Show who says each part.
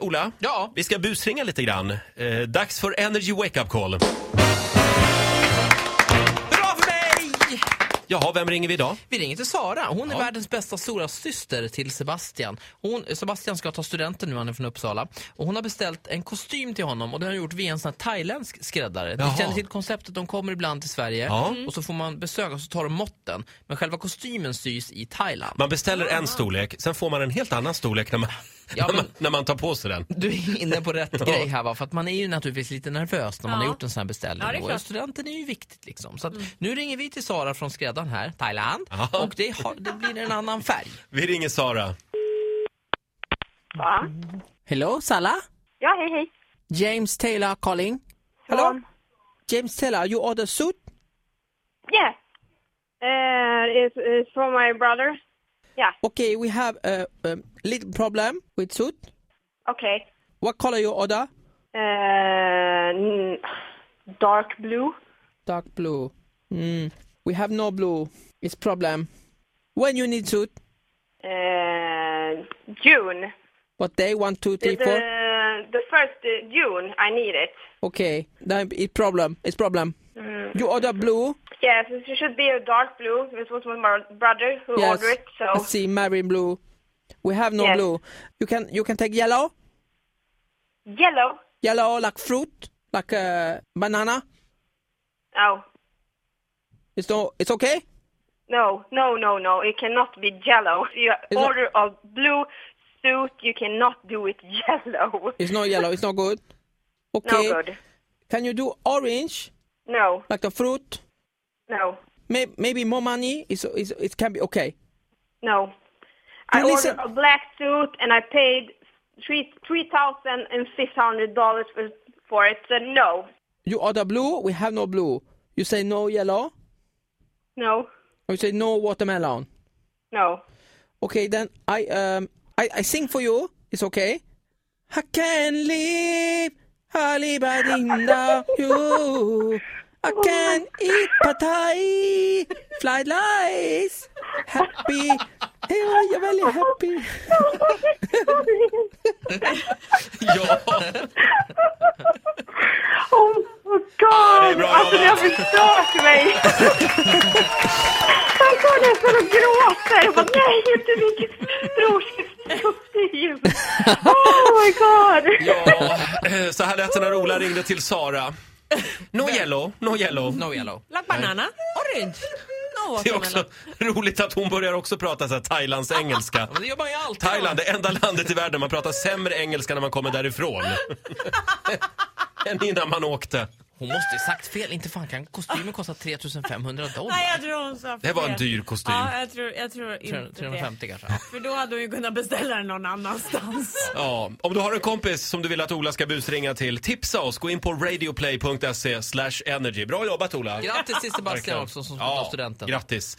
Speaker 1: Ola,
Speaker 2: Ja.
Speaker 1: vi ska busringa lite grann. Eh, dags för Energy Wake Up Call.
Speaker 2: Bra för mig!
Speaker 1: Jaha, vem ringer vi idag?
Speaker 2: Vi ringer till Sara. Hon är
Speaker 1: Ja.
Speaker 2: världens bästa stora syster till Sebastian. Hon, Sebastian ska ta studenten nu, han är från Uppsala. Och hon har beställt en kostym till honom och det har hon gjort via en sån här thailändsk skräddare.
Speaker 1: Jaha.
Speaker 2: Ni känner till konceptet, de kommer ibland till Sverige
Speaker 1: Ja.
Speaker 2: och så får man besök och så tar de måtten. Men själva kostymen sys i Thailand.
Speaker 1: Man beställer en storlek, sen får man en helt annan storlek när man,
Speaker 2: Ja,
Speaker 1: när man,
Speaker 2: men-
Speaker 1: när man tar på sig den.
Speaker 2: Du är inne på rätt grej här va? För att man är ju naturligtvis lite nervös när man
Speaker 3: Ja.
Speaker 2: har gjort en sån här beställning.
Speaker 3: Ja, det är
Speaker 2: och
Speaker 3: klart. Mm.
Speaker 2: studenten är ju viktigt liksom. Så att nu ringer vi till Sara från skräddaren här, Thailand.
Speaker 1: Ja.
Speaker 2: Och det, har, det blir en annan färg.
Speaker 1: Vi ringer Sara.
Speaker 4: Va?
Speaker 2: Hello, Sala?
Speaker 4: Ja, hej hej.
Speaker 2: James Taylor calling. Hello?
Speaker 4: Um,
Speaker 2: James Taylor, you order suit?
Speaker 4: yeah. Uh, it's, it's for my brother.
Speaker 2: Okay, we have a, a little problem with suit.
Speaker 4: Okay.
Speaker 2: What color you order?
Speaker 4: Uh, n- dark blue.
Speaker 2: Dark blue. Mm, we have no blue. It's problem. When you need suit?
Speaker 4: Uh, June.
Speaker 2: What day? One, two,
Speaker 4: The,
Speaker 2: three, four.
Speaker 4: the, the first uh, June, I need it.
Speaker 2: Okay, then it's problem. It's problem. You order blue?
Speaker 4: Yes, it should be a dark blue. This was my brother who
Speaker 2: yes.
Speaker 4: ordered it.
Speaker 2: I
Speaker 4: So
Speaker 2: see marine blue. We have no
Speaker 4: Yes.
Speaker 2: blue. You can you can take yellow.
Speaker 4: yellow.
Speaker 2: Yellow like fruit, like uh, banana.
Speaker 4: Oh
Speaker 2: It's no. It's okay.
Speaker 4: no, no, no, no! It cannot be yellow. You
Speaker 2: It's not-
Speaker 4: order a blue suit. You cannot do it yellow.
Speaker 2: It's not yellow. It's not good.
Speaker 4: No
Speaker 2: Okay.
Speaker 4: good.
Speaker 2: Can you do orange
Speaker 4: No,
Speaker 2: like the fruit?
Speaker 4: no.
Speaker 2: May, maybe more money is, is it can be okay.
Speaker 4: No.
Speaker 2: You
Speaker 4: I
Speaker 2: listen-
Speaker 4: ordered a black suit and I paid three three thousand and fifty hundred dollars for for it. So no,
Speaker 2: You order blue. We have no blue. You say no yellow.
Speaker 4: no,
Speaker 2: Or you say no watermelon.
Speaker 4: no.
Speaker 2: Okay, then I um I, I sing for you. It's okay. I can live only by without you.
Speaker 4: Oh
Speaker 2: I can eat pad thai, fly lice, happy. Yeah, you're very happy.
Speaker 1: Ja,
Speaker 4: Oh my
Speaker 1: det är
Speaker 4: god!
Speaker 1: bra
Speaker 4: Alltså ni har
Speaker 1: jobbat.
Speaker 4: förstört mig! Jag går nästan och gråter. Jag bara, nej, inte min brors kostym! Oh my god!
Speaker 1: ja. Eh, Så här lät det när Ola ringde till Sara. No yellow, no yellow.
Speaker 2: No yellow.
Speaker 3: Like banana, orange, no
Speaker 1: Det är också
Speaker 3: watermelon.
Speaker 1: roligt att hon börjar också prata så här thailandsengelska.
Speaker 2: Men det gör man ju alltid.
Speaker 1: Thailand, det enda landet i världen man pratar sämre engelska när man kommer därifrån. Än innan man åkte.
Speaker 2: Hon måste ju sagt fel. Inte fan kan kostymen kosta 3500
Speaker 3: Nej,
Speaker 2: dollar.
Speaker 3: jag tror hon sa
Speaker 1: Det var en
Speaker 3: fel.
Speaker 1: dyr kostym.
Speaker 3: Ja, jag tror, jag tror inte det.
Speaker 2: 350 kanske.
Speaker 3: För då hade hon ju kunnat beställa den någon annanstans.
Speaker 1: Ja, om du har en kompis som du vill att Ola ska busringa till, tipsa oss. Gå in på radioplay.se slash energy. Bra jobbat Ola!
Speaker 2: Grattis till Sebastian
Speaker 1: Verkligen.
Speaker 2: också som ska
Speaker 1: Ja,
Speaker 2: ta studenten.
Speaker 1: Grattis!